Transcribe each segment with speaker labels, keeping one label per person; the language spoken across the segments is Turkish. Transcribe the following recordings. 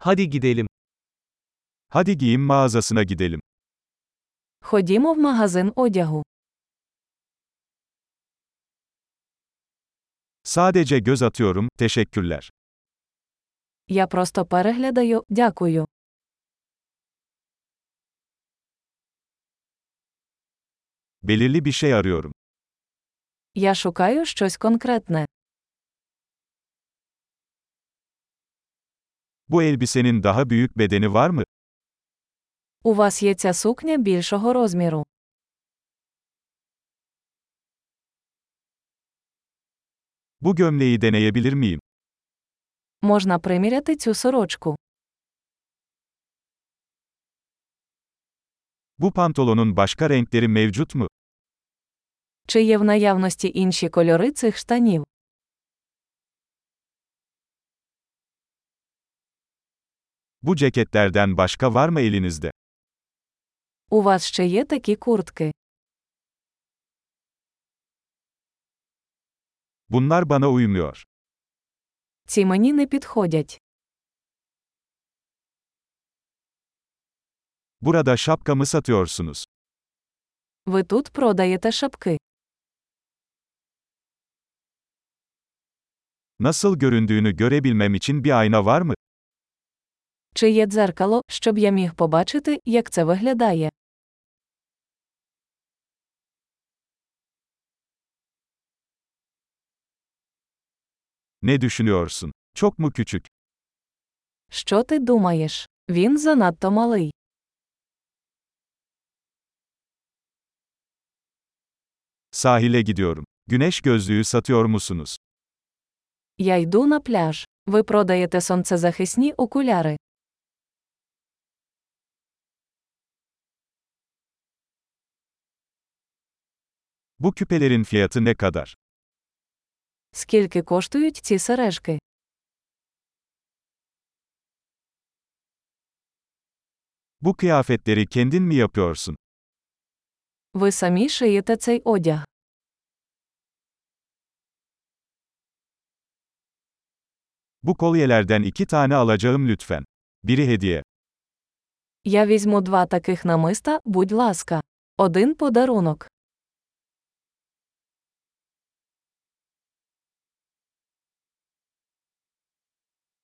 Speaker 1: Hadi gidelim. Hadi giyim mağazasına gidelim.
Speaker 2: Ходімо в магазин одягу.
Speaker 1: Sadece göz atıyorum, teşekkürler.
Speaker 2: Я просто переглядаю, дякую.
Speaker 1: Belirli bir şey arıyorum.
Speaker 2: Я шукаю щось конкретне.
Speaker 1: Bu elbisenin daha büyük bedeni var mı?
Speaker 2: У вас є ця сукня більшого розміру.
Speaker 1: Bu gömleği deneyebilir miyim?
Speaker 2: Можна приміряти цю сорочку.
Speaker 1: Bu pantolonun başka renkleri mevcut mu?
Speaker 2: Чи є в наявності інші кольори цих штанів?
Speaker 1: Bu ceketlerden başka var mı elinizde?
Speaker 2: У вас ще є такі куртки.
Speaker 1: Bunlar bana uymuyor.
Speaker 2: Ці мені не підходять.
Speaker 1: Burada şapka mı satıyorsunuz?
Speaker 2: Ви тут продаєте шапки.
Speaker 1: Nasıl göründüğünü görebilmem için bir ayna var mı?
Speaker 2: Чи є дзеркало, щоб я міг побачити, як це виглядає?
Speaker 1: Ne düşünüyorsun? Çok mu küçük?
Speaker 2: Що ти думаєш? Він занадто малий.
Speaker 1: Sahile gidiyorum. Güneş gözlüğü satıyor musunuz?
Speaker 2: Я йду на пляж. Ви продаєте сонцезахисні окуляри.
Speaker 1: Bu küpelerin fiyatı ne kadar?
Speaker 2: Скільки коштують ці сережки?
Speaker 1: Bu kıyafetleri kendin mi yapıyorsun?
Speaker 2: Ви самі шиєте цей одяг.
Speaker 1: Bu kolyelerden iki tane alacağım lütfen. Biri hediye.
Speaker 2: Я візьму два таких намиста, будь ласка. Один подарунок.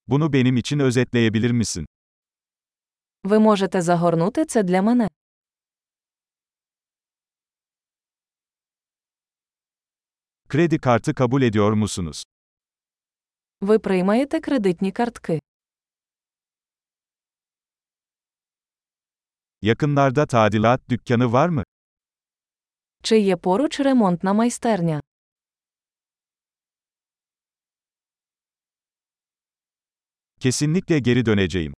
Speaker 1: Bunu benim için özetleyebilir misin?
Speaker 2: Ви можете загорнути це для мене.
Speaker 1: Kredi kartı kabul ediyor musunuz?
Speaker 2: Ви приймаєте кредитні картки.
Speaker 1: Yakınlarda tadilat dükkanı var mı?
Speaker 2: Чи є поруч ремонтна майстерня?
Speaker 1: Kesinlikle geri döneceğim.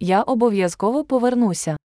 Speaker 2: Я обов'язково повернуся.